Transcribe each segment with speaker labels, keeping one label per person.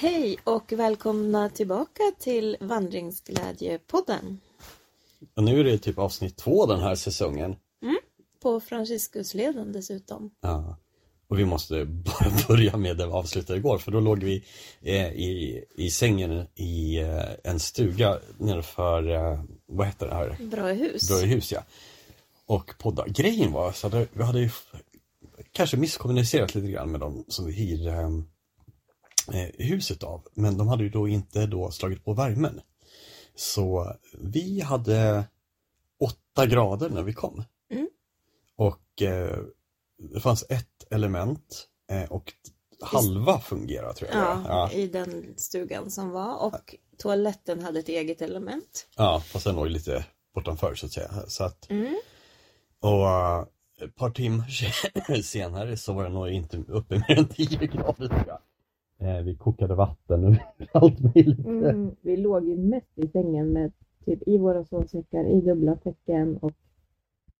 Speaker 1: Hej och välkomna tillbaka till Vandringsglädjepodden
Speaker 2: Och nu är det typ avsnitt två den här säsongen.
Speaker 1: på Franciscusleden dessutom.
Speaker 2: Ja. Och vi måste bara börja med där vi avslutade igår för då låg vi eh, i, i sängen i eh, en stuga nedanför, eh, vad heter det här,
Speaker 1: Bra hus.
Speaker 2: Bröjehus ja. Och podda. Grejen var så att vi hade ju f- kanske misskommunicerat lite grann med dem som vi hyrde eh, huset av. Men de hade ju då inte då slagit på värmen. Så vi hade åtta grader när vi kom.
Speaker 1: Mm.
Speaker 2: Och eh, det fanns ett element eh, och halva fungerar tror jag.
Speaker 1: ja,
Speaker 2: Ja,
Speaker 1: I den stugan som var och toaletten hade ett eget element.
Speaker 2: ja, fast den låg lite bortanför så att säga. Så att,
Speaker 1: Mm.
Speaker 2: Och eh, ett par timmar senare så var det nog inte uppe mer än 10 grader tror jag. Eh, vi kokade vatten och allt möjligt.
Speaker 3: Mm, vi låg ju mest i sängen med typ i våra sovsäckar, i dubbla täcken och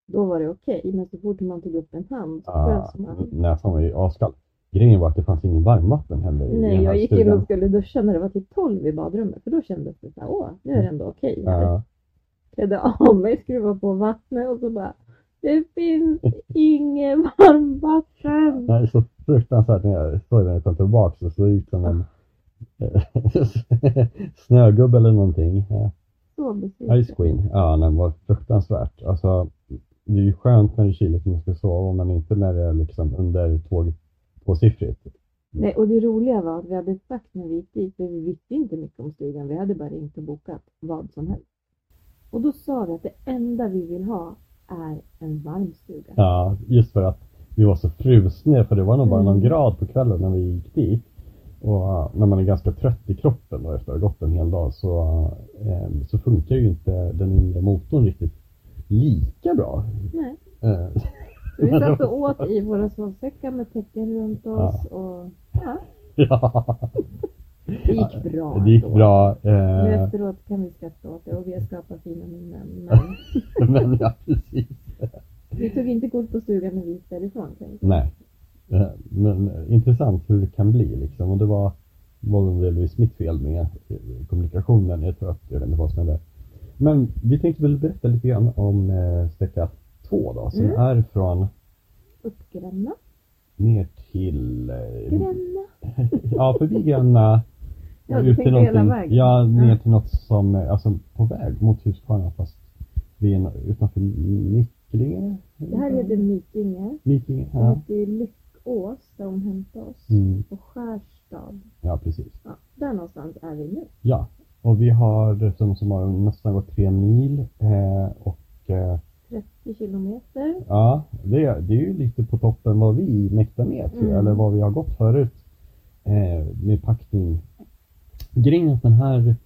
Speaker 3: då var det okej. Men så fort man tog upp en hand
Speaker 2: Ah.
Speaker 3: så frös man.
Speaker 2: näsan var ju askall. Grejen var att det fanns ingen varmvatten heller
Speaker 3: Nej, jag gick in och skulle duscha när det var typ 12 i badrummet för då kändes det så här, åh, nu är det ändå okej.
Speaker 2: Ah.
Speaker 3: Jag klädde av mig, skruvade på vattnet och så bara, det finns inget varmvatten.
Speaker 2: Nej, så fruktansvärt när jag såg när jag kom tillbaka så såg det ut som en eh, snögubbe eller någonting.
Speaker 3: Så
Speaker 2: Ice
Speaker 3: besviken.
Speaker 2: Queen, ja den var fruktansvärt. Alltså, det är ju skönt när det är kyligt när man ska sova men inte när det är liksom under två, tvåsiffrigt.
Speaker 3: Nej, och det roliga var att vi hade sagt när vi gick dit, för vi visste inte mycket om stugan, vi hade bara ringt och bokat vad som helst. Och då sa vi att det enda vi vill ha är en varm stuga.
Speaker 2: Ja, just för att vi var så frusna för det var nog bara någon
Speaker 3: Mm.
Speaker 2: grad på kvällen när vi gick dit. Och ja, när man är ganska trött i kroppen då efter att ha gått en hel dag så, eh, så funkar ju inte den inre motorn riktigt lika bra.
Speaker 3: Nej.
Speaker 2: Eh,
Speaker 3: Så vi satt och åt i våra sovsäckar med täcken runt oss och
Speaker 2: ja,
Speaker 3: det gick bra.
Speaker 2: det gick
Speaker 3: ändå.
Speaker 2: bra. eh,
Speaker 3: Nu efteråt kan vi skratta åt det och vi har skapat fina minnen. Men
Speaker 2: men ja, precis.
Speaker 3: vi tog inte kort på stugan när vi gick därifrån. kan jag säga.
Speaker 2: Nej. Eh, Men eh, intressant hur det kan bli liksom. Och det var, var väl delvis mitt fel med eh, kommunikationen. Jag tror att jag vet inte vad som hände. Men vi tänkte väl berätta lite grann om eh, sträcka två då, som
Speaker 3: Mm.
Speaker 2: är från
Speaker 3: Uppgränna,
Speaker 2: ner till... eh,
Speaker 3: gränna.
Speaker 2: ja, förbi Gränna.
Speaker 3: Ja, du
Speaker 2: ut till
Speaker 3: tänkte
Speaker 2: någonting-
Speaker 3: hela vägen.
Speaker 2: Ja, ner
Speaker 3: Ja.
Speaker 2: till något som, eh, alltså på väg mot Huskvarna fast vi är nå- utanför Micklinge?
Speaker 3: Det här Mm. heter Mykinge.
Speaker 2: Micklinge,
Speaker 3: Det
Speaker 2: ja.
Speaker 3: heter ju Lyckås där hon hämtade oss.
Speaker 2: Mm,
Speaker 3: och Skärstad.
Speaker 2: ja, precis.
Speaker 3: Ja, där någonstans är vi nu.
Speaker 2: Ja, och vi har som, som har nästan gått tre mil eh, och eh,
Speaker 3: 30 kilometer.
Speaker 2: ja, det, är- det är ju lite på toppen vad vi mäktar med tror jag,
Speaker 3: Mm.
Speaker 2: eller vad vi har gått förut eh, med packning. Grejen är att den här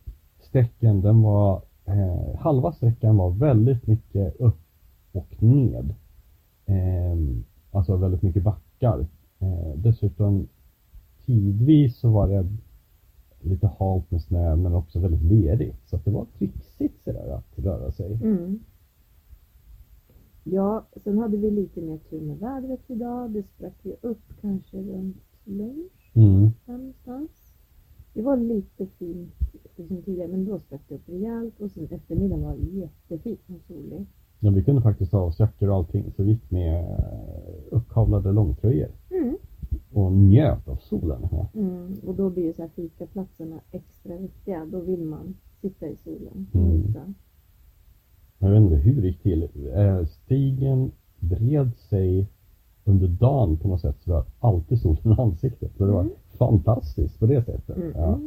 Speaker 2: sträckan, den var, eh, halva sträckan var väldigt mycket upp och ned. Ehm, alltså väldigt mycket backar. Eh, dessutom tidvis så var det lite halt med snö men också väldigt lerigt. Så att det var trixigt sådär att röra sig.
Speaker 3: Ja, sen hade vi lite mer tur med vädret idag. Det sprack ju upp kanske runt lunch
Speaker 2: Mm.
Speaker 3: där någonstans. Det var lite fint liksom tidigare, men då sprack det upp rejält. Och sen eftermiddagen var jättefin och solig.
Speaker 2: Ja, vi kunde faktiskt ha oss jackor och allting så vi gick med eh, uppkavlade långtröjor
Speaker 3: Mm.
Speaker 2: och njöt av solen. Ja.
Speaker 3: Och då blir ju så här fikaplatserna extra viktiga. Då vill man sitta i solen och
Speaker 2: Mm.
Speaker 3: njuta.
Speaker 2: Jag vet inte hur det gick till. Eh, Stigen bred sig under dagen på något sätt så det var alltid solen i ansiktet. Så det var
Speaker 3: Mm.
Speaker 2: fantastiskt på det sättet.
Speaker 3: Mm.
Speaker 2: Ja.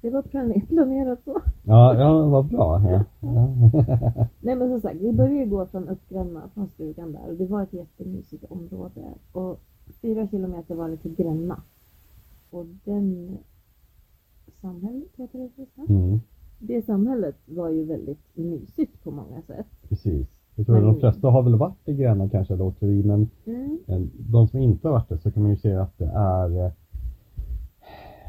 Speaker 3: Det var plane- planerat så.
Speaker 2: Ja, ja, vad bra. Ja. Ja.
Speaker 3: Nej men som sagt, vi började ju gå från Uppgränna, från stugan där och det var ett jättemysigt område. Och fyra kilometer var det till Gränna. Och den samhället, heter det förresten?
Speaker 2: Mm,
Speaker 3: Det samhället var ju väldigt mysigt på många sätt.
Speaker 2: precis. Jag tror att de flesta har väl varit i Gränna kanske, eller åkt förbi, men Eh, De som inte har varit det så kan man ju se att det är eh,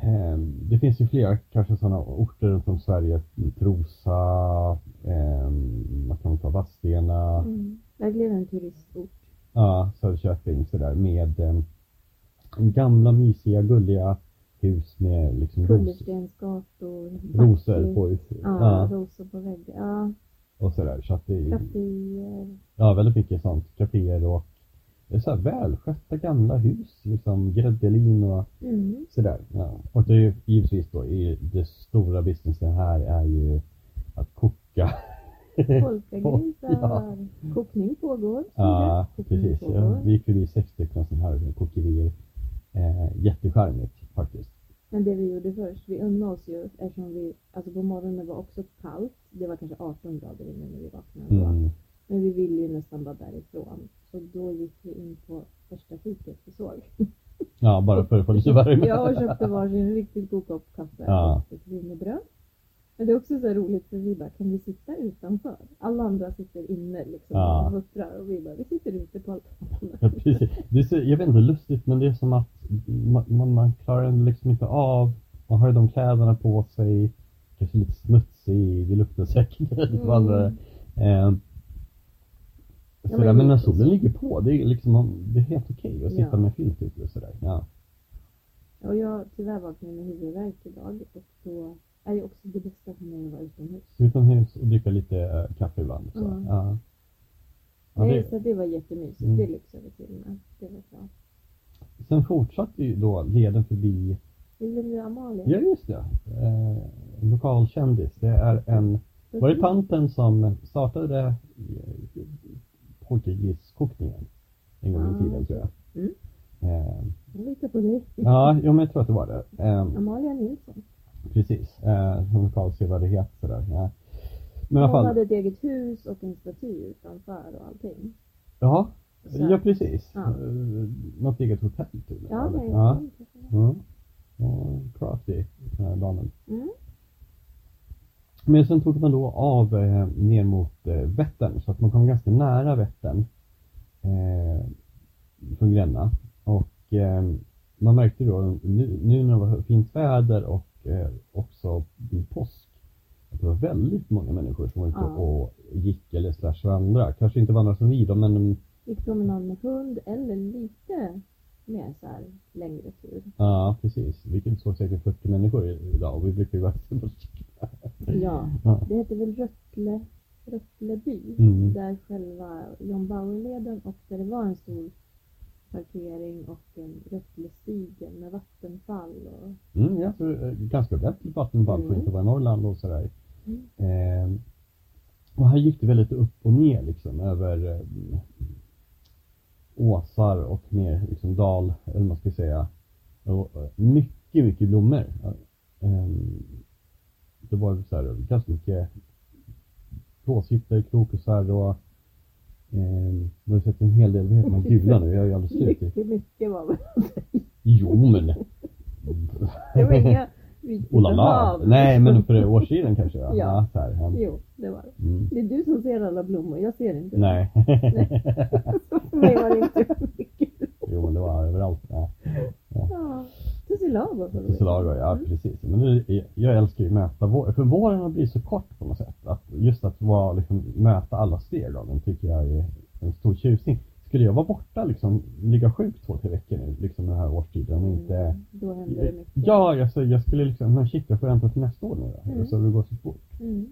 Speaker 2: eh, Det finns ju flera kanske sådana orter runt om Sverige, Trosa, eh, vad kan man ta, Vadstena,
Speaker 3: Mm. Verkligen en turistort.
Speaker 2: ja, Söderköping sådär med eh, gamla mysiga gulliga hus med liksom ros,
Speaker 3: Kullerstensgator.
Speaker 2: rosor
Speaker 3: backljus.
Speaker 2: på ut-
Speaker 3: Ja,
Speaker 2: ja,
Speaker 3: rosor på väggen. Ja,
Speaker 2: och sådär. Så att det är
Speaker 3: kaféer.
Speaker 2: ja, väldigt mycket sånt. Caféer och det är så här välskötta gamla hus, liksom gräddelin och
Speaker 3: Mm.
Speaker 2: sådär. Ja. Och det är ju givetvis då, i det stora businessen här är ju att koka.
Speaker 3: Polkagrisar.
Speaker 2: Ja.
Speaker 3: Kokning pågår. som
Speaker 2: Ja,
Speaker 3: sagt. Kokning
Speaker 2: precis. Ja,
Speaker 3: pågår.
Speaker 2: vi gick förbi sex stycken sådana här kokerier. Eh, jättecharmigt faktiskt.
Speaker 3: Men det vi gjorde först, vi unnade oss ju eftersom vi, alltså på morgonen var också kallt. Det var kanske 18 grader inne när vi vaknade. ändå.
Speaker 2: Mm.
Speaker 3: Men vi ville ju nästan bara därifrån. Så då gick vi in på första fiket vi såg.
Speaker 2: Ja, bara för att få lite värme.
Speaker 3: Jag och köpte varsin riktigt god kopp kaffe
Speaker 2: Ja.
Speaker 3: och ett wienerbröd. Men det är också så här roligt för vi bara, kan vi sitta utanför? Alla andra sitter inne liksom
Speaker 2: Ja.
Speaker 3: och huttrar och vi bara, vi sitter ute på altanen.
Speaker 2: Ja, precis. Det är så, jag vet inte, lustigt men det är som att man, man, man klarar liksom inte av, man har ju de kläderna på sig, kanske lite smutsig, det luktar säkert mm. andra. Eh, sådär,
Speaker 3: men
Speaker 2: men när
Speaker 3: lite så.
Speaker 2: solen ligger på, det är, liksom, man- det är helt okej att sitta
Speaker 3: Ja.
Speaker 2: med filt ute och sådär. Ja.
Speaker 3: Och jag tyvärr vaknade med huvudvärk idag och då är ju också det bästa för mig att vara utomhus.
Speaker 2: Utomhus och dricka lite eh, kaffe ibland. Så.
Speaker 3: Mm.
Speaker 2: Ja. Ja,
Speaker 3: Nej,
Speaker 2: det,
Speaker 3: Så det var jättemysigt,
Speaker 2: Mm.
Speaker 3: det lyxade vi till med. Det var bra.
Speaker 2: sen fortsatte ju då leden förbi
Speaker 3: Vill du Amalia?
Speaker 2: Ja, just det. Eh, en lokal kändis. Det är en... Var det tanten som startade eh, portugiskokningen en gång i
Speaker 3: Ah,
Speaker 2: tiden, tror jag?
Speaker 3: Mm.
Speaker 2: Eh,
Speaker 3: Jag litar på dig.
Speaker 2: ja, jo, men jag tror att det var det. Eh,
Speaker 3: Amalia Nilsson.
Speaker 2: precis. Eh, som lokal sevärdhet sådär. Ja. Men i alla
Speaker 3: Hon
Speaker 2: fall.
Speaker 3: hade ett eget hus och en staty utanför och allting.
Speaker 2: Ja,
Speaker 3: Så-
Speaker 2: ja precis.
Speaker 3: Ja.
Speaker 2: Ja. Något eget hotell tydligen.
Speaker 3: Ja,
Speaker 2: eller?
Speaker 3: nej.
Speaker 2: ja. Mm. Ja, crafty, den här damen.
Speaker 3: Mm.
Speaker 2: Men sen tog man då av eh, ner mot eh, Vättern så att man kom ganska nära Vättern eh, från Gränna. Och eh, man märkte då nu, nu när det var fint väder och eh, också vid påsk att det var väldigt många människor som var ute
Speaker 3: Ja.
Speaker 2: och gick eller slash vandra. Kanske inte vandra som vi då men
Speaker 3: Gick promenad med hund eller lite mer så här längre tur.
Speaker 2: ja precis. Vilket såg säkert 40 människor idag och vi brukar ju vara
Speaker 3: Ja.
Speaker 2: Mm. Ja.
Speaker 3: Det hette väl Röttle, Röttleby,
Speaker 2: Mm.
Speaker 3: där själva John Bauerleden och där det var en stor parkering och en Röttlestigen med vattenfall och
Speaker 2: Mm, jag tror, eh, ganska ordentligt vattenfall för att
Speaker 3: Mm.
Speaker 2: inte vara i Norrland och sådär.
Speaker 3: Mm.
Speaker 2: Eh, och här gick det väl lite upp och ner liksom över eh, åsar och ner liksom dal, eller vad man ska säga. Och, eh, mycket, mycket blommor. Eh, det var så här, ganska mycket blåshyttor, krokusar och eh, jag har sett en hel del, vad heter de här gula nu? Jag är ju alldeles slut. i-
Speaker 3: mycket, mycket var väl.
Speaker 2: Jo men!
Speaker 3: Det var inga riktigt
Speaker 2: Oh la la.
Speaker 3: hav.
Speaker 2: Nej, men för år sedan kanske.
Speaker 3: Ja.
Speaker 2: Ja. ja så här. ja.
Speaker 3: Jo, det var det.
Speaker 2: Mm.
Speaker 3: Det är du som ser alla blommor, jag ser inte.
Speaker 2: Nej,
Speaker 3: För mig var det inte mycket.
Speaker 2: jo men det var överallt. Ja.
Speaker 3: Ja. Tussilago.
Speaker 2: Tussilago, ja
Speaker 3: Mm.
Speaker 2: precis. Men det, jag älskar ju möta våren, för våren har blivit så kort på något sätt. Att just att vara, liksom, möta alla steg av den tycker jag är en stor tjusning. Skulle jag vara borta, liksom, ligga sjuk två, tre veckor nu, liksom den här årstiden och inte
Speaker 3: Mm, Då händer det mycket.
Speaker 2: Ja, jag, jag skulle liksom, men shit jag får vänta till nästa år nu då.
Speaker 3: Mm.
Speaker 2: Så det går så fort.
Speaker 3: Mm.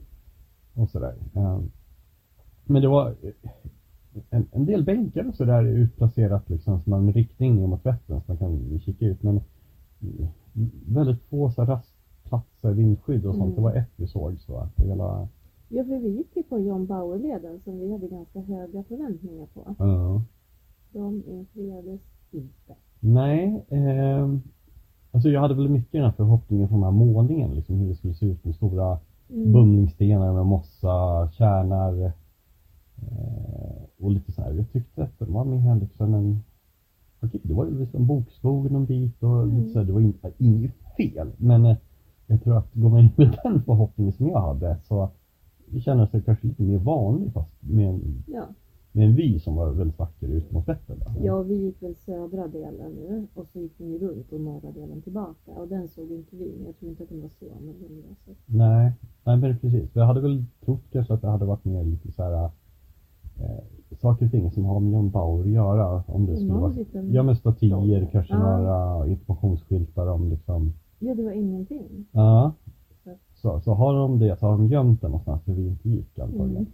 Speaker 2: och sådär. Eh, Men det var eh, en, en del bänkar och sådär utplacerat liksom som man med riktning mot vättern så man kan kika ut. Men eh, väldigt få så här rastplatser, vindskydd och sånt.
Speaker 3: Mm.
Speaker 2: Det var ett vi såg så. att Hela,
Speaker 3: Ja, för vi gick ju på John Bauer-leden som vi hade ganska höga förväntningar på.
Speaker 2: ja.
Speaker 3: De infriades inte.
Speaker 2: nej, ehm, alltså jag hade väl mycket den här förhoppningen från den här målningen, liksom hur det skulle se ut med stora Mm.
Speaker 3: Mm.
Speaker 2: Bumlingstenar med mossa, kärnar eh, och lite så här. Jag tyckte att de var mer här liksom en... Okej, det var ju liksom bokskog någon bit och
Speaker 3: Mm.
Speaker 2: lite så här, det var in, inget fel. Men eh, jag tror att går man in med den förhoppningen som jag hade så kändes det kanske lite mer vanligt fast med en,
Speaker 3: Ja.
Speaker 2: med en vy som var väldigt vacker ut mot Vättern. då.
Speaker 3: ja, och vi gick väl södra delen nu och så gick vi runt och norra delen tillbaka och den såg inte vi, men jag tror inte att den var så annorlunda. Så.
Speaker 2: Nej, nej men precis. Jag hade väl trott kanske att det hade varit mer lite så här eh, saker och ting som har med John Bauer att göra. Om det skulle
Speaker 3: Någon
Speaker 2: vara
Speaker 3: liten...
Speaker 2: Ja men statyer,
Speaker 3: Stolpe.
Speaker 2: kanske
Speaker 3: Ja.
Speaker 2: några informationsskyltar om liksom
Speaker 3: Ja, det var ingenting.
Speaker 2: Ja.
Speaker 3: Så.
Speaker 2: Så, så har de det så har de gömt den någonstans där vi inte gick antagligen.
Speaker 3: Mm.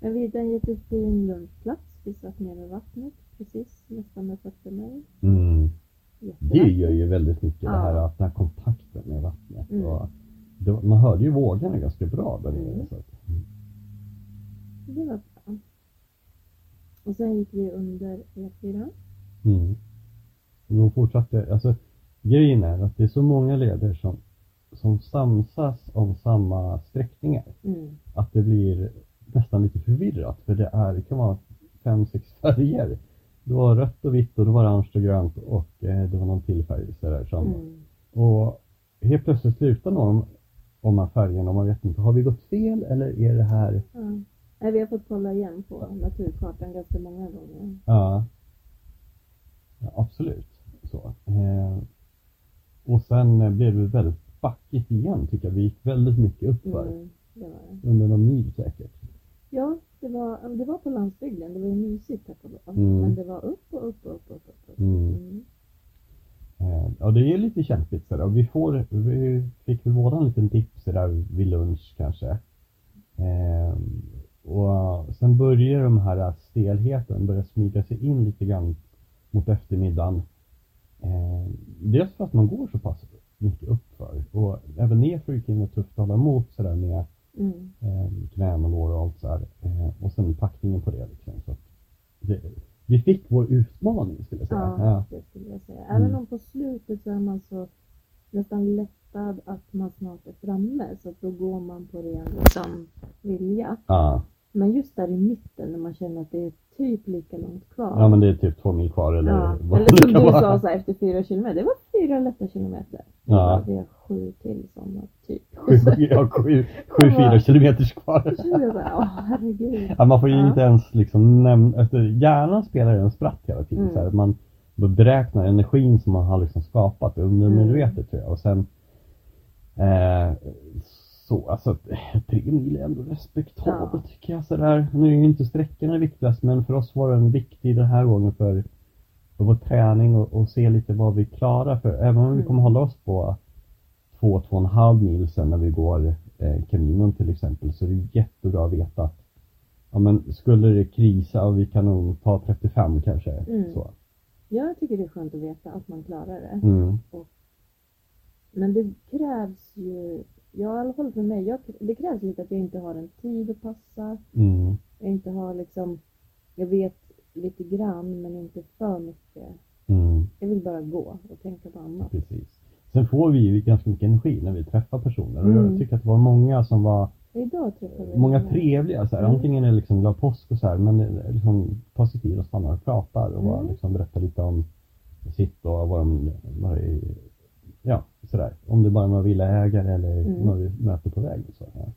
Speaker 3: Men vi hittade en jättefin lunchplats. Vi satt nere vid vattnet precis nästan med fötterna i.
Speaker 2: Mm. Det
Speaker 3: Jättevackert.
Speaker 2: gör ju väldigt mycket det här
Speaker 3: Ja.
Speaker 2: att den här kontakten med vattnet.
Speaker 3: Mm.
Speaker 2: Och det, var- man hörde ju vågorna ganska bra där nere.
Speaker 3: Mm.
Speaker 2: Så att,
Speaker 3: Det var bra. Och sen gick vi under E E4.
Speaker 2: mm. Och de fortsatte, alltså grejen är att det är så många leder som, som samsas om samma sträckningar.
Speaker 3: Mm.
Speaker 2: Att det blir nästan lite förvirrat för det är, det kan vara fem, sex färger. Det var rött och vitt och det var orange och grönt och eh, det var någon till färg sådär som
Speaker 3: Mm.
Speaker 2: Och helt plötsligt slutar någon om de här färgerna och man vet inte, har vi gått fel eller är det här...
Speaker 3: Ja. Nej, Vi har fått kolla igen på naturkartan ganska många gånger.
Speaker 2: Ja, ja absolut. Så. Eh, och sen eh, blev det väldigt backigt igen tycker jag. Vi gick väldigt mycket uppför.
Speaker 3: Mm. Det var det.
Speaker 2: Under någon mil säkert.
Speaker 3: Ja, det var, det var på landsbygden. Det var ju mysigt tack och lov.
Speaker 2: Mm.
Speaker 3: Men det var upp och upp och upp. upp, upp, upp.
Speaker 2: Mm.
Speaker 3: Mm.
Speaker 2: Eh, ja, det är lite kämpigt sådär. Och vi, får, vi fick väl båda en liten dipp sådär vid lunch kanske. Eh, och sen börjar de här stelheten börja smyga sig in lite grann mot eftermiddagen. Eh, dels för att man går så pass mycket uppför och även nerför gick det in och tufft att hålla emot sådär med
Speaker 3: Mm.
Speaker 2: eh, knän och lår och allt sådär. Eh, och sen packningen på det liksom. Så att det, vi fick vår utmaning skulle jag säga.
Speaker 3: Ja, det skulle jag säga. Även
Speaker 2: Mm.
Speaker 3: om på slutet så är man så nästan lättad att man snart är framme. Så att då går man på ren liksom, vilja.
Speaker 2: Ja.
Speaker 3: Men just där i mitten när man känner att det är typ lika långt kvar.
Speaker 2: Ja men det är typ två mil kvar eller
Speaker 3: Ja.
Speaker 2: vad
Speaker 3: Eller som
Speaker 2: det kan
Speaker 3: du
Speaker 2: vara.
Speaker 3: sa så här, efter fyra kilometer. Det var fyra lätta kilometer.
Speaker 2: Ja.
Speaker 3: Vi har sju till sådana typ.
Speaker 2: Sju, ja, sju, sju fyra kilometers kvar.
Speaker 3: Så jag bara, åh herregud.
Speaker 2: Ja, man får ju
Speaker 3: Ja.
Speaker 2: inte ens liksom nämna, efter hjärnan spelar en spratt hela tiden.
Speaker 3: Mm.
Speaker 2: Så här, att man beräknar energin som man har liksom skapat undermedvetet
Speaker 3: Mm.
Speaker 2: tror jag. Och sen eh, så, alltså eh, tre mil är ändå respektabelt
Speaker 3: Ja.
Speaker 2: tycker jag. Så där. Nu är ju inte sträckorna viktigast men för oss var den viktig den här gången för, för vår träning och, och se lite vad vi klarar för. Även om vi
Speaker 3: Mm.
Speaker 2: kommer hålla oss på två, två och en halv mil sen när vi går eh, Camino'n till exempel så är det jättebra att veta att ja, men skulle det krisa och vi kan nog ta 35 kanske.
Speaker 3: Mm.
Speaker 2: Så.
Speaker 3: Jag tycker det är skönt att veta att man klarar det.
Speaker 2: Mm.
Speaker 3: Men det krävs ju, ja i alla fall för mig, jag, det krävs lite att jag inte har en tid att passa.
Speaker 2: Mm.
Speaker 3: Jag inte har liksom, jag vet lite grann men inte för mycket.
Speaker 2: Mm.
Speaker 3: Jag vill bara gå och tänka på annat.
Speaker 2: Precis. Sen får vi ju ganska mycket energi när vi träffar personer och jag
Speaker 3: Mm.
Speaker 2: tycker att det var många som var
Speaker 3: Idag träffade vi
Speaker 2: Många trevliga, så här.
Speaker 3: Mm.
Speaker 2: antingen är det liksom glad påsk och så här, men det är liksom tar sig tid och stannar och pratar och bara
Speaker 3: Mm.
Speaker 2: liksom berättar lite om sitt och vad de, vad det är- ja sådär. Om det bara är några villaägare eller
Speaker 3: Mm.
Speaker 2: några vi möter på vägen. Så här.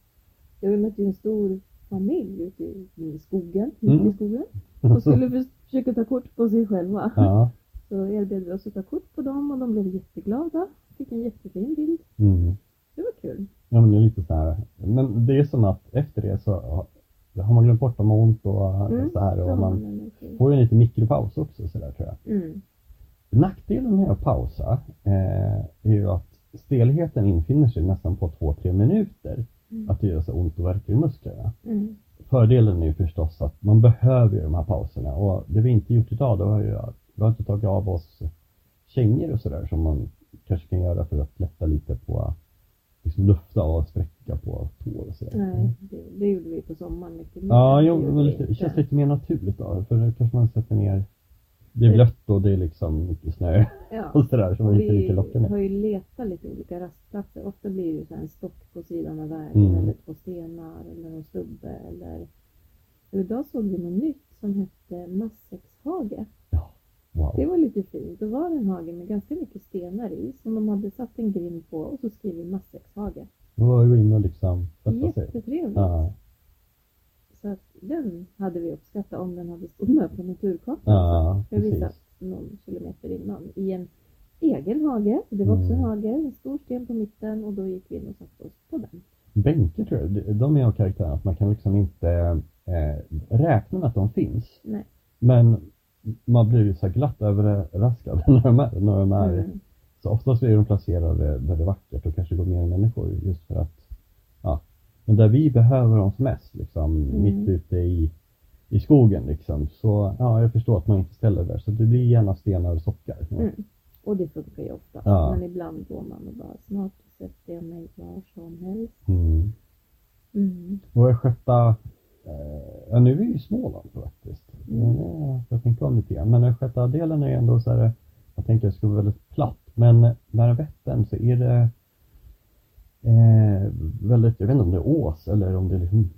Speaker 3: Jag mötte ju en stor familj ute i i skogen,
Speaker 2: Mm.
Speaker 3: mitt i skogen. De skulle för- försöka ta kort på sig själva.
Speaker 2: Ja.
Speaker 3: Så erbjöd vi oss att ta kort på dem och de blev jätteglada. Fick en jättefin bild.
Speaker 2: Mm.
Speaker 3: Det var kul.
Speaker 2: ja, men det är lite så här. Men det är som att efter det så har- har man glömt bort om man har ont och
Speaker 3: Mm.
Speaker 2: så här
Speaker 3: Så
Speaker 2: och man
Speaker 3: en fin-
Speaker 2: får ju en liten mikropaus också så där tror jag.
Speaker 3: Mm.
Speaker 2: Nackdelen med att pausa eh, är ju att stelheten infinner sig nästan på 2-3 minuter.
Speaker 3: Mm.
Speaker 2: Att det gör så ont och värker i musklerna.
Speaker 3: Mm.
Speaker 2: Fördelen är ju förstås att man behöver ju de här pauserna och det vi inte gjort idag då har ju vi har inte tagit av oss kängor och sådär som man kanske kan göra för att lätta lite på liksom lufta och sträcka på tår och sådär.
Speaker 3: Nej, det, det gjorde vi på sommaren mycket mer.
Speaker 2: Ja,
Speaker 3: Det
Speaker 2: jo,
Speaker 3: gjorde
Speaker 2: men
Speaker 3: vi
Speaker 2: lite, det
Speaker 3: inte.
Speaker 2: känns lite mer naturligt då för då kanske man sätter ner det är blött och det är liksom mycket snö och
Speaker 3: Ja.
Speaker 2: sådär som man inte
Speaker 3: Vi
Speaker 2: riktigt lockar med.
Speaker 3: har ju letat lite olika rastplatser. Ofta blir det ju så här en stock på sidan av vägen
Speaker 2: Mm.
Speaker 3: eller två stenar eller en stubbe eller... Och idag såg vi något nytt som hette Massäckshage.
Speaker 2: Wow.
Speaker 3: Det var lite fint. Då var det en hage med ganska mycket stenar i som de hade satt en grind på och så skriver Massäckshage.
Speaker 2: Då var vi inne och liksom sätta sig.
Speaker 3: Jättetrevligt.
Speaker 2: Ja,
Speaker 3: Så att den hade vi uppskattat om den hade stått med på naturkartan.
Speaker 2: ja,
Speaker 3: Jag
Speaker 2: precis.
Speaker 3: visade någon kilometer innan i en egen hage. Det var också en
Speaker 2: Mm.
Speaker 3: hage, en stor sten på mitten och då gick vi in och satte oss på den.
Speaker 2: Bänker tror jag, de- de är av karaktären att man kan liksom inte eh, räkna med att de finns.
Speaker 3: Nej.
Speaker 2: Men man blir ju så här glatt överraskad när de är, när de är
Speaker 3: Mm.
Speaker 2: Så oftast är de placerade där det är vackert och kanske går mer människor just för att ja. Men där vi behöver dem som mest liksom,
Speaker 3: Mm.
Speaker 2: mitt ute i, i skogen liksom. Så ja, jag förstår att man inte ställer där. Så det blir gärna stenar och sockar.
Speaker 3: Mm. Och det funkar ju ofta.
Speaker 2: Ja.
Speaker 3: Men ibland går man och bara snart sätter jag mig var som helst.
Speaker 2: Mm.
Speaker 3: Mm.
Speaker 2: Och Östgöta, eh, ja nu är vi ju i Småland faktiskt. Men, eh, jag tänker om lite grann. Men Östgötadelen är ju ändå så här, eh, jag tänker att det ska vara väldigt platt. Men nära Vättern så är det eh, väldigt, jag vet inte om det är ås eller om det är liksom,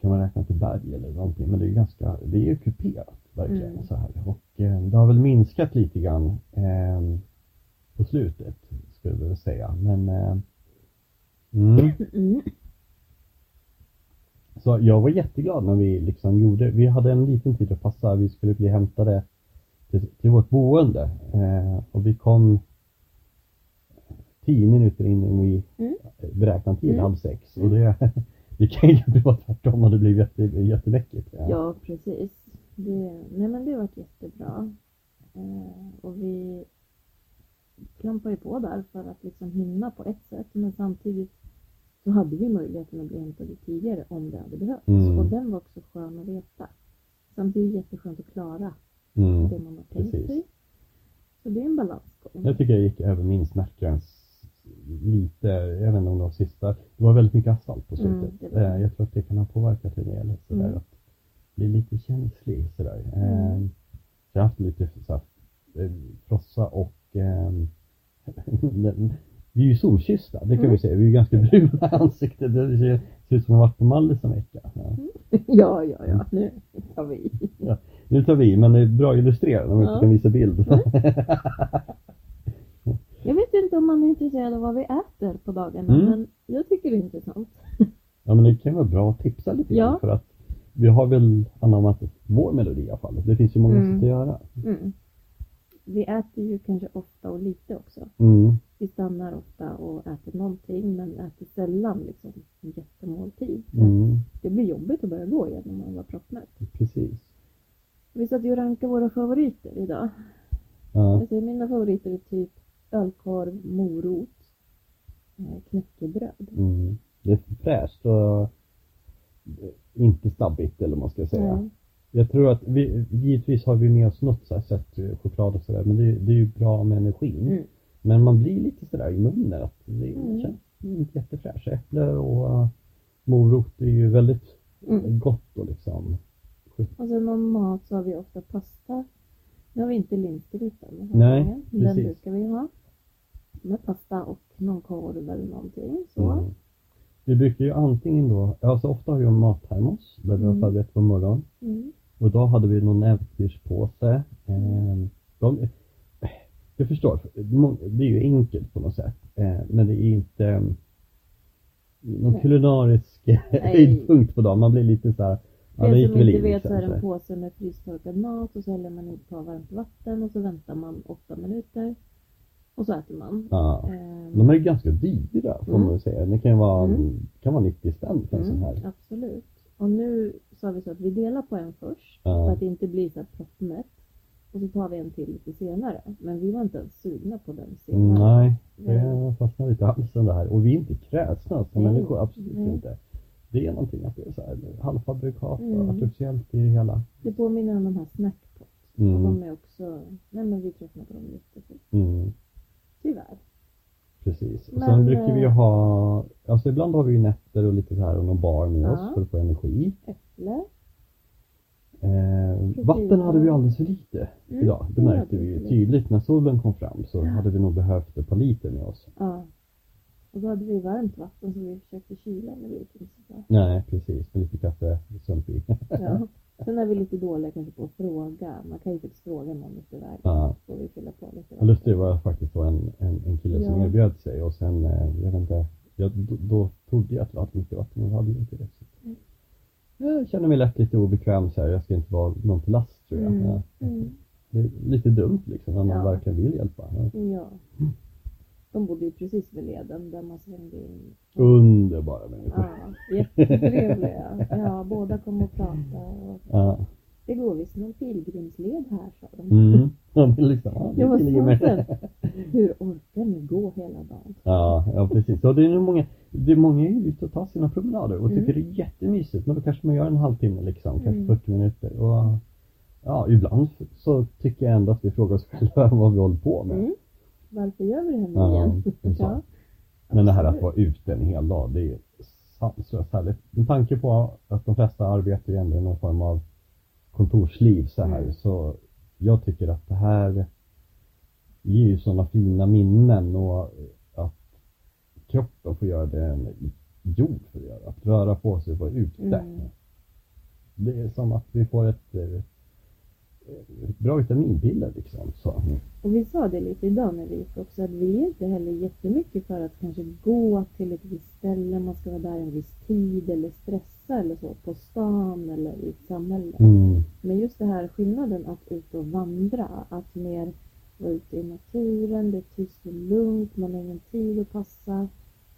Speaker 2: kan man räkna till berg eller någonting. Men det är ju ganska, det är ju kuperat verkligen
Speaker 3: Mm.
Speaker 2: så här. Och eh, det har väl minskat lite grann eh, på slutet skulle jag vilja säga. Men eh, mm.
Speaker 3: Mm.
Speaker 2: Så jag var jätteglad när vi liksom gjorde, vi hade en liten tid att passa, vi skulle bli hämtade till, till vårt boende eh, och vi kom tio minuter innan vi
Speaker 3: Mm.
Speaker 2: beräknade tid,
Speaker 3: Mm.
Speaker 2: halv sex. Och det, det kan ju vara tvärtom och det blev jätte, jätteläckert.
Speaker 3: Ja, precis. Det, nej men det har varit jättebra. Eh, och vi klampar ju på där för att liksom hinna på ett sätt. Men samtidigt så hade vi möjligheten att bli hämtade tidigare om det hade behövts.
Speaker 2: Mm.
Speaker 3: Och den var också skön att veta. Samtidigt jätteskönt att klara
Speaker 2: Mm.
Speaker 3: det man har tänkt
Speaker 2: precis.
Speaker 3: sig. Så det är en balansgång.
Speaker 2: Jag tycker jag gick över min smärtgräns lite, jag vet inte om det var sista, det var väldigt mycket asfalt på
Speaker 3: Mm,
Speaker 2: slutet.
Speaker 3: det var det.
Speaker 2: Eh, jag tror att det kan ha påverkat en del sådär
Speaker 3: Mm.
Speaker 2: att bli lite känslig sådär. Eh,
Speaker 3: Mm.
Speaker 2: Jag har haft lite såhär, eh, frossa och ehm, den- vi är ju solkyssta, det kan vi
Speaker 3: Mm.
Speaker 2: säga. Vi är ju ganska bruna i ansiktet. Det ser ser ut som att ha varit på Mallis en vecka. Ja.
Speaker 3: ja, ja, ja. Nu tar vi i.
Speaker 2: Nu tar vi i, men det är bra illustrerat om vi inte
Speaker 3: Ja.
Speaker 2: kan visa bild.
Speaker 3: Jag vet inte om man är intresserad av vad vi äter på dagarna,
Speaker 2: Mm.
Speaker 3: men jag tycker det är intressant.
Speaker 2: Ja men det kan vara bra att tipsa lite
Speaker 3: Ja.
Speaker 2: grann för att vi har väl anammat vår melodi i alla fall. Det finns ju många
Speaker 3: Mm.
Speaker 2: sätt att göra.
Speaker 3: Mm. Vi äter ju kanske ofta och lite också.
Speaker 2: Mm.
Speaker 3: Vi stannar ofta och äter någonting, men äter sällan liksom en jättemåltid.
Speaker 2: Mm.
Speaker 3: Det blir jobbigt att börja gå igen om man var proppmätt.
Speaker 2: Precis.
Speaker 3: Vi satt ju och rankade våra favoriter idag.
Speaker 2: Ja.
Speaker 3: Jag säger, mina favoriter är typ ölkorv, morot, eh, knäckebröd.
Speaker 2: Mm. Det är fräscht och inte stabbigt eller vad man ska säga.
Speaker 3: Nej.
Speaker 2: Jag tror att vi, givetvis har vi med oss något så här sött choklad och sådär men det, det är ju bra med energin.
Speaker 3: Mm.
Speaker 2: Men man blir lite sådär i munnen att det
Speaker 3: Mm.
Speaker 2: känns inte jättefräscht. Äpple och äh, morot är ju väldigt
Speaker 3: Mm.
Speaker 2: gott och liksom.
Speaker 3: Och sen om mat så har vi ofta pasta. Nu har vi inte linsgryta den här
Speaker 2: Nej,
Speaker 3: gången. Den
Speaker 2: precis.
Speaker 3: brukar vi ha. Med pasta och någon korv eller någonting. Så.
Speaker 2: Mm. Vi brukar ju antingen då, alltså ofta har vi en mattermos där vi har
Speaker 3: Mm.
Speaker 2: förberett på morgonen.
Speaker 3: Mm.
Speaker 2: Och då hade vi någon äventyrspåse. Eh, de, jag förstår, må- det är ju enkelt på något sätt. Eh, men det är inte eh, någon
Speaker 3: Nej.
Speaker 2: kulinarisk eh, höjdpunkt på dagen. Man blir lite så här, ja,
Speaker 3: För
Speaker 2: det
Speaker 3: er
Speaker 2: gick
Speaker 3: som
Speaker 2: väl
Speaker 3: inte
Speaker 2: in.
Speaker 3: vet så är det en
Speaker 2: liksom.
Speaker 3: påse med frystorkad mat och så häller man i ett par varmt vatten och så väntar man åtta minuter. Och så äter man.
Speaker 2: Ja.
Speaker 3: Ehm,
Speaker 2: De är ju ganska dyra får
Speaker 3: Mm.
Speaker 2: man väl säga. Det kan ju vara,
Speaker 3: Mm.
Speaker 2: kan vara 90 spänn för en sån här.
Speaker 3: mm, absolut. Och nu sa vi så att vi delar på en först.
Speaker 2: Ja.
Speaker 3: Så att det inte blir så här proppmätt. Och så tar vi en till lite senare. Men vi var inte ens sugna på den
Speaker 2: Mm,
Speaker 3: senare.
Speaker 2: Nej,
Speaker 3: Nej.
Speaker 2: det fastnar lite i halsen det här. Och vi är inte kräsna som
Speaker 3: Nej.
Speaker 2: människor, absolut
Speaker 3: Nej.
Speaker 2: inte. Det är någonting att det är så här halvfabrikat och
Speaker 3: Mm.
Speaker 2: artificiellt i det hela.
Speaker 3: Det påminner om de här snackpot. Och
Speaker 2: Mm,
Speaker 3: de är också, nej men vi tröttnar på dem jättefort.
Speaker 2: mm,
Speaker 3: Tyvärr.
Speaker 2: precis. Och
Speaker 3: Men,
Speaker 2: sen brukar vi ju
Speaker 3: eh,
Speaker 2: ha, alltså ibland har vi ju nätter och lite så här och någon bar med
Speaker 3: Ja.
Speaker 2: oss för att få energi.
Speaker 3: Äpple.
Speaker 2: Eh,
Speaker 3: Precis.
Speaker 2: vatten hade vi alldeles för lite
Speaker 3: Mm,
Speaker 2: idag. Det
Speaker 3: det hade
Speaker 2: märkte vi
Speaker 3: vi
Speaker 2: ju
Speaker 3: lite.
Speaker 2: tydligt när solen kom fram så
Speaker 3: Ja.
Speaker 2: hade vi nog behövt ett par liter med oss.
Speaker 3: Ja. Och då hade vi varmt vatten som vi försökte kyla men det gick inte så bra.
Speaker 2: Nej, precis. Med lite kaffe, sump i.
Speaker 3: Ja. Sen är vi lite dåliga kanske på att fråga. Man kan ju faktiskt fråga någon efter vägen.
Speaker 2: Ja.
Speaker 3: Så får vi fylla på lite
Speaker 2: Ja, just det var faktiskt då en, en, en kille som
Speaker 3: Ja.
Speaker 2: erbjöd sig och sen, eh, jag vet inte, jag, då, då trodde jag att det var mycket vatten men det hade ju inte det. Så.
Speaker 3: Mm.
Speaker 2: Jag känner mig lätt lite obekväm så här, jag ska inte vara någon till last tror jag.
Speaker 3: Mm.
Speaker 2: Ja.
Speaker 3: Mm.
Speaker 2: Det är lite dumt liksom när man
Speaker 3: Ja.
Speaker 2: verkligen vill hjälpa. Ja.
Speaker 3: Ja.
Speaker 2: Mm.
Speaker 3: De bodde ju precis vid leden där man svängde in.
Speaker 2: Underbara människor.
Speaker 3: Ja, jättetrevliga. Ja, båda kom och pratade. Och
Speaker 2: Ja.
Speaker 3: det går visst någon pilgrimsled här sa de.
Speaker 2: Mm. Ja, men liksom, ja, det
Speaker 3: Jag var
Speaker 2: ligger med.
Speaker 3: så sen. Hur orkar ni gå hela dagen?
Speaker 2: Ja, ja precis. Så det är nog många, det är många är ute och tar sina promenader och
Speaker 3: Mm.
Speaker 2: tycker det är jättemysigt. Men då kanske man gör en halvtimme liksom, kanske
Speaker 3: Mm.
Speaker 2: 40 minuter. Och, ja, ibland så tycker jag ändå att vi frågar oss själva vad vi håller på med.
Speaker 3: Mm. Varför gör vi det här nu
Speaker 2: Ja,
Speaker 3: igen?
Speaker 2: det är sant. Men det här att vara ute en hel dag, det är sanslöst härligt. Med tanke på att de flesta arbetar ju ändå i någon form av kontorsliv så här,
Speaker 3: Mm.
Speaker 2: så jag tycker att det här ger ju sådana fina minnen och att kroppen får göra det den är gjord för att göra. Att röra på sig och vara ute.
Speaker 3: Mm.
Speaker 2: Det är som att vi får ett, eh, ett bra vitaminpiller liksom. Så.
Speaker 3: Och vi sa det lite idag när vi gick också att vi är inte heller jättemycket för att kanske gå till ett visst ställe, man ska vara där en viss tid eller stressa eller så på stan eller i ett samhälle.
Speaker 2: Mm.
Speaker 3: Men just det här skillnaden att ut och vandra, att mer vara ute i naturen, det är tyst och lugnt, man har ingen tid att passa.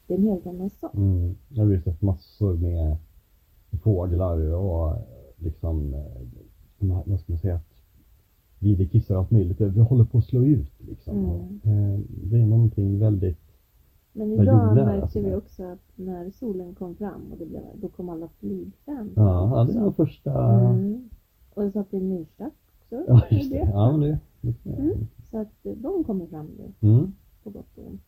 Speaker 3: Det är en helt annan sak.
Speaker 2: Mm. Jag har ju sett massor med fåglar och eh, liksom, eh, de här- vad ska man säga, att videkissar och allt möjligt. Det håller på att slå ut liksom.
Speaker 3: Mm.
Speaker 2: Eh, Det är någonting väldigt,
Speaker 3: Men
Speaker 2: Vad
Speaker 3: idag
Speaker 2: gjorde det
Speaker 3: märkte
Speaker 2: alltså?
Speaker 3: vi också att när solen kom fram och det blev, då kom alla flygfans.
Speaker 2: ja, det
Speaker 3: också.
Speaker 2: är den första,
Speaker 3: Mm. Och jag satt i myrstack också.
Speaker 2: ja just det, ja men det,
Speaker 3: Mm. Så att eh, de kommer fram nu,
Speaker 2: Mm.
Speaker 3: på gott och ont.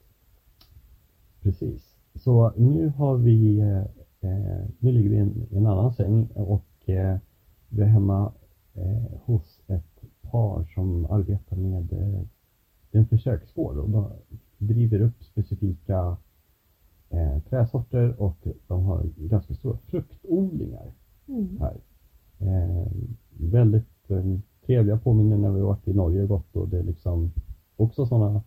Speaker 2: Precis. Så nu har vi, eh, eh, nu ligger vi i en, i en annan säng och eh, vi är hemma eh, hos ett par som arbetar med eh, en försöksgård och de driver upp specifika eh, träsorter och de har ganska stora fruktodlingar
Speaker 3: Mm.
Speaker 2: här. Eh, väldigt eh, trevliga påminnen när vi varit i Norge och gått och det är liksom också sådana,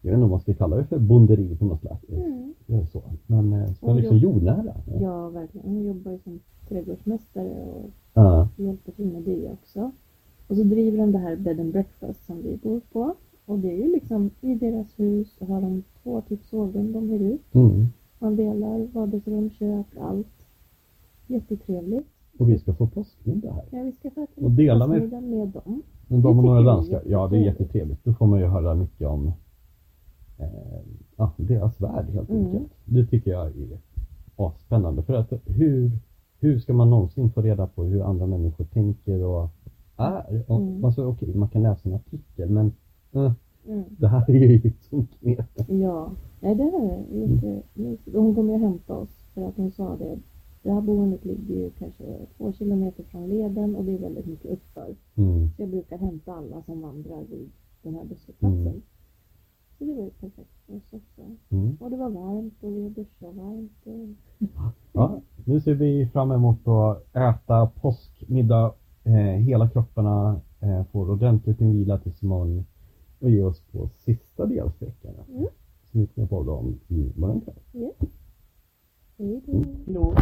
Speaker 2: jag vet inte om man ska kalla det för bonderi på något slags
Speaker 3: Mm.
Speaker 2: det är så. Men eh, som
Speaker 3: Och
Speaker 2: liksom
Speaker 3: jag-
Speaker 2: jordnära.
Speaker 3: Ja, verkligen. Hon jobbar ju som trädgårdsmästare och
Speaker 2: Ja.
Speaker 3: hjälper till med det också. Och så driver de det här bed and breakfast som vi bor på. Och det är ju liksom i deras hus och har de två typ sovrum de hyr ut.
Speaker 2: Mm.
Speaker 3: Man delar vardagsrum, kök, allt. Jättetrevligt.
Speaker 2: Och vi ska få påskmiddag här.
Speaker 3: Ja, vi ska få äta
Speaker 2: Och dela med-
Speaker 3: middag med dem.
Speaker 2: Men
Speaker 3: Det
Speaker 2: de och några
Speaker 3: tycker jag är
Speaker 2: danskar, ja det är jättetrevligt. Då får man ju höra mycket om eh, ja, deras värld helt
Speaker 3: Mm.
Speaker 2: enkelt. Det tycker jag är avspännande. För att hur, hur ska man någonsin få reda på hur andra människor tänker och är? Och,
Speaker 3: Mm.
Speaker 2: Alltså okej, man kan läsa en artikel men eh,
Speaker 3: Mm.
Speaker 2: det här är ju som knep.
Speaker 3: Ja, nej det här är jättemysigt. Och hon kommer ju hämta oss för att hon sa det. Det här boendet ligger ju kanske två kilometer från leden och det är väldigt mycket uppför.
Speaker 2: Mm.
Speaker 3: Så jag brukar hämta alla som vandrar vid den här busshållplatsen.
Speaker 2: Mm.
Speaker 3: Så det var ju perfekt för oss också.
Speaker 2: Mm.
Speaker 3: Och det var varmt och vi duschade varmt. Och...
Speaker 2: Ja, nu ser vi fram emot att äta påskmiddag. Eh, hela kropparna eh, får ordentligt med vila tills imorgon och ge oss på sista delsträckan.
Speaker 3: Mm.
Speaker 2: Som vi kommer på dem i morgon kväll.
Speaker 3: Hej då!
Speaker 2: Mm. Hej då.